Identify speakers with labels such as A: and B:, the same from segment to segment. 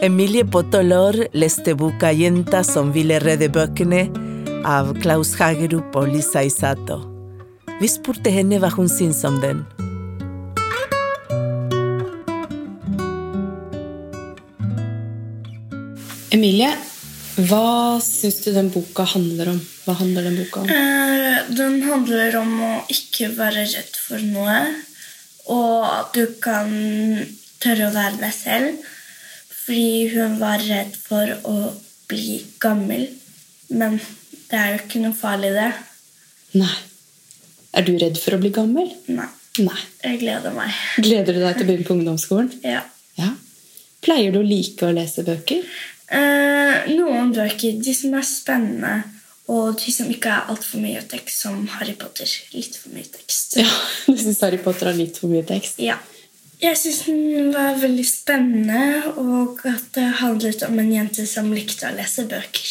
A: Emilie Potolor leste buka jenta som ville redde bøkene av Klaus Hagerup og Lisa Isato. Vi spurte henne hva hun syns om den.
B: Emilie, hva syns du den boka handler om? Hva handler den boka om?
C: Eh, Den handler om å ikke være redd for noe, og at du kan tørre å være deg selv. Fordi hun var redd for å bli gammel. Men det er jo ikke noe farlig, det.
B: Nei. Er du redd for å bli gammel?
C: Nei.
B: Nei.
C: Jeg gleder meg.
B: Gleder du deg til å begynne på ungdomsskolen?
C: Ja.
B: Ja. Pleier du å like å lese bøker?
C: Eh, noen bøker, de som er spennende, og de som ikke er altfor mye tekst, som Harry Potter. Litt for mye tekst.
B: Ja, Du syns Harry Potter har litt for mye tekst?
C: Ja. Jeg syns den var veldig spennende, og at det handlet om en jente som likte å lese bøker.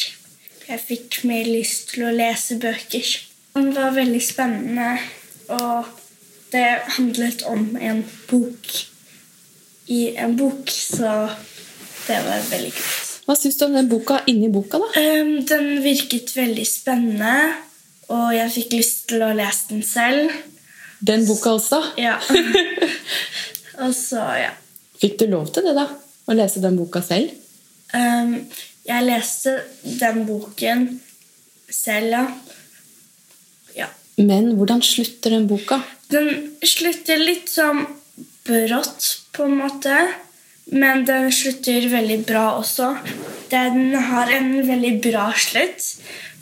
C: Jeg fikk mer lyst til å lese bøker. Den var veldig spennende, og det handlet om en bok i en bok, så det var veldig kult.
B: Hva syns du om den boka inni boka, da?
C: Ehm, den virket veldig spennende, og jeg fikk lyst til å lese den selv.
B: Den boka også?
C: Ja. og så, ja.
B: Fikk du lov til det, da? Å lese den boka selv?
C: Ehm, jeg leste den boken selv, ja. ja.
B: Men hvordan slutter den boka?
C: Den slutter litt sånn brått, på en måte. Men den slutter veldig bra også. Den har en veldig bra slutt,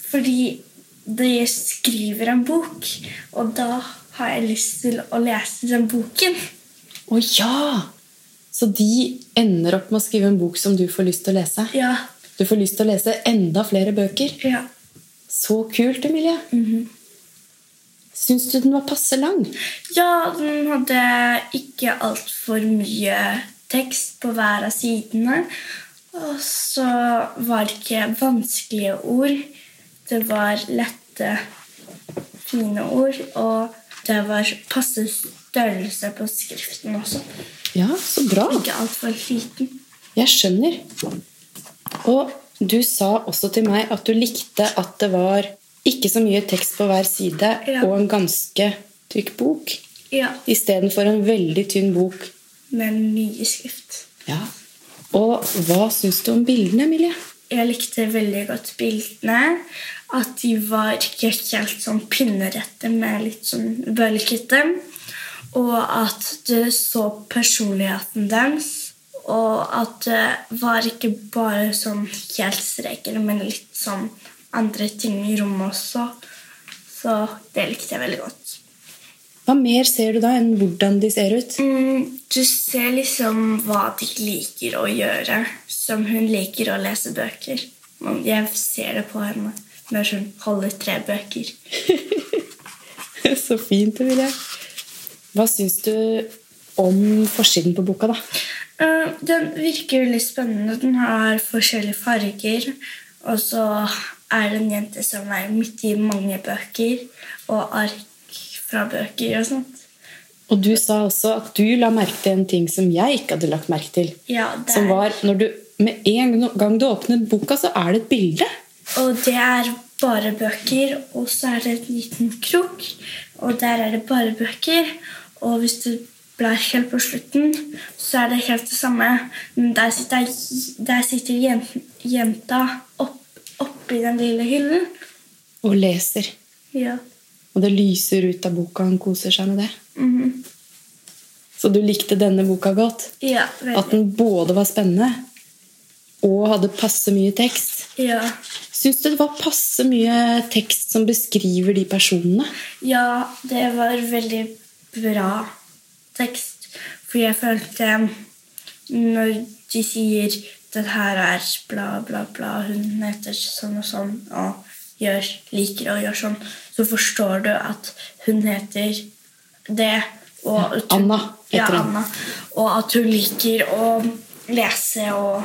C: fordi de skriver en bok, og da har jeg lyst til å lese den boken.
B: Å ja! Så de ender opp med å skrive en bok som du får lyst til å lese?
C: Ja.
B: Du får lyst til å lese enda flere bøker?
C: ja.
B: Så kult, Emilie! Syns du den var passe lang?
C: Ja, den hadde ikke altfor mye tekst på hver av sidene. Og så var det ikke vanskelige ord. Det var lette, fine ord. Og det var passe størrelse på skriften også.
B: Ja, så bra!
C: Ikke altfor liten.
B: Jeg skjønner. Og du sa også til meg at du likte at det var ikke så mye tekst på hver side
C: Ja.
B: og en ganske tykk bok
C: Ja,
B: istedenfor en veldig tynn bok.
C: men mye skrift.
B: Ja. Og hva syns du om bildene, Emilie?
C: Jeg likte veldig godt bildene. At de var ikke helt sånn pinnerette, men litt sånn bølgete. Og at du så personligheten deres. Og at det var ikke bare sånn helt streker, men litt sånn andre ting i rommet også. Så det likte jeg veldig godt.
B: Hva mer ser du da enn hvordan de ser ut?
C: Mm, du ser liksom hva de liker å gjøre, som hun liker å lese bøker. Man- Jeg ser det på henne når hun holder tre bøker.
B: så fint, Emilie. Hva syns du om forsiden på boka, da?
C: Eh, Den virker veldig spennende. Den har forskjellige farger. Og så er det en jente som er midt i mange bøker og ark fra bøker og sånt.
B: Og du sa også at du la merke til en ting som jeg ikke hadde lagt merke til.
C: Ja, det
B: Som
C: er-
B: var når du med en gang du åpner boka, så er det et bilde.
C: Og det er bare bøker, og så er det en liten krok, og der er det bare bøker. Og hvis du blar helt på slutten, så er det helt det samme. Men der sitter, der sitter jen- jenta opp, oppi den lille hyllen.
B: Og leser.
C: Ja.
B: Og det lyser ut av boka, han koser seg med det.
C: Mhm.
B: Så du likte denne boka godt?
C: ja,
B: At
C: veldig.
B: den både var spennende og hadde passe mye tekst.
C: Ja.
B: Syns du det var passe mye tekst som beskriver de personene?
C: ja, det var veldig bra tekst, for jeg følte når de sier den her er bla, bla, bla, hun heter sånn og sånn og gjør, liker å gjøre sånn, så forstår du at hun heter det. Og at hun,
B: Anna heter
C: ja,
B: hun.
C: Anna. Og at hun liker å lese og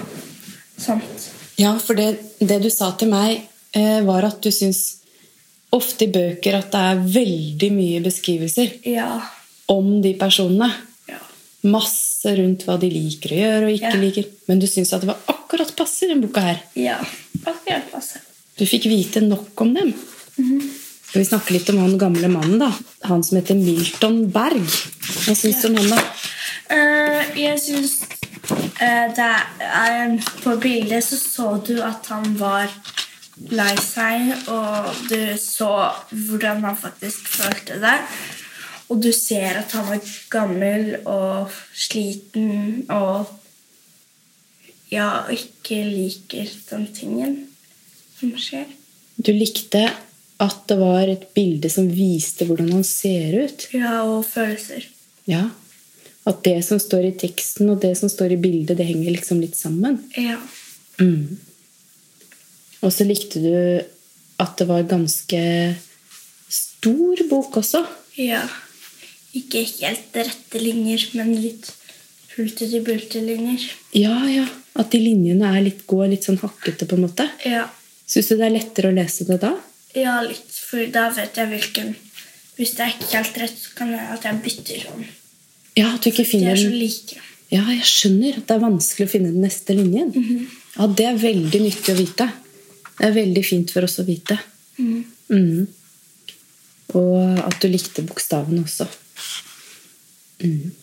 C: sånt.
B: Ja, for det, det du sa til meg, eh, var at du syns ofte i bøker at det er veldig mye beskrivelser
C: Ja.
B: om de personene.
C: ja.
B: Masse masse rundt hva de liker å gjøre og ikke
C: Ja.
B: liker, men du syns at det var akkurat passe i denne boka her.
C: Ja. Akkurat passe.
B: Du fikk vite nok om dem. Skal vi snakke litt om han gamle mannen, da? Han som heter Milton Berg. Hva syns du om han, da?
C: Eh, jeg syns eh, det er På bildet så så du at han var lei seg, og du så hvordan han faktisk følte det. Og du ser at han var gammel og sliten og ja, ikke liker den tingen som skjer.
B: Du likte at det var et bilde som viste hvordan han ser ut.
C: Ja, og følelser.
B: Ja. At det som står i teksten og det som står i bildet, det henger liksom litt sammen.
C: Ja.
B: Mm. Og så likte du at det var ganske stor bok også.
C: Ja. Ikke helt rette linjer, men litt hulter-til-bulter linjer.
B: Ja, ja. At de linjene er litt, går litt sånn hakkete, på en måte.
C: Ja.
B: Syns du det er lettere å lese det da?
C: ja, litt, for da vet jeg hvilken Hvis det er ikke helt rett, så kan det at jeg bytter om.
B: Ja, at du ikke
C: De
B: finner
C: er så
B: den.
C: like.
B: Ja, jeg skjønner at det er vanskelig å finne den neste linjen. Ja, det er veldig nyttig å vite. Det er veldig fint for oss å vite. Mhm. Og at du likte bokstavene også. Mhm.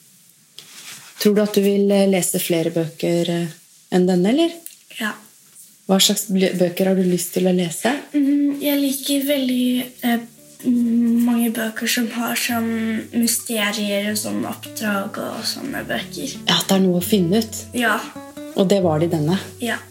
B: Tror du at du vil eh, lese flere bøker eh, enn denne, eller?
C: Ja.
B: Hva slags bl- bøker har du lyst til å lese?
C: Mm, Jeg liker veldig eh, mm, mange bøker som har sånn mysterier og sånn oppdrag og sånne bøker.
B: Ja, at det er noe å finne ut.
C: Ja.
B: Og det var det i denne.
C: Ja.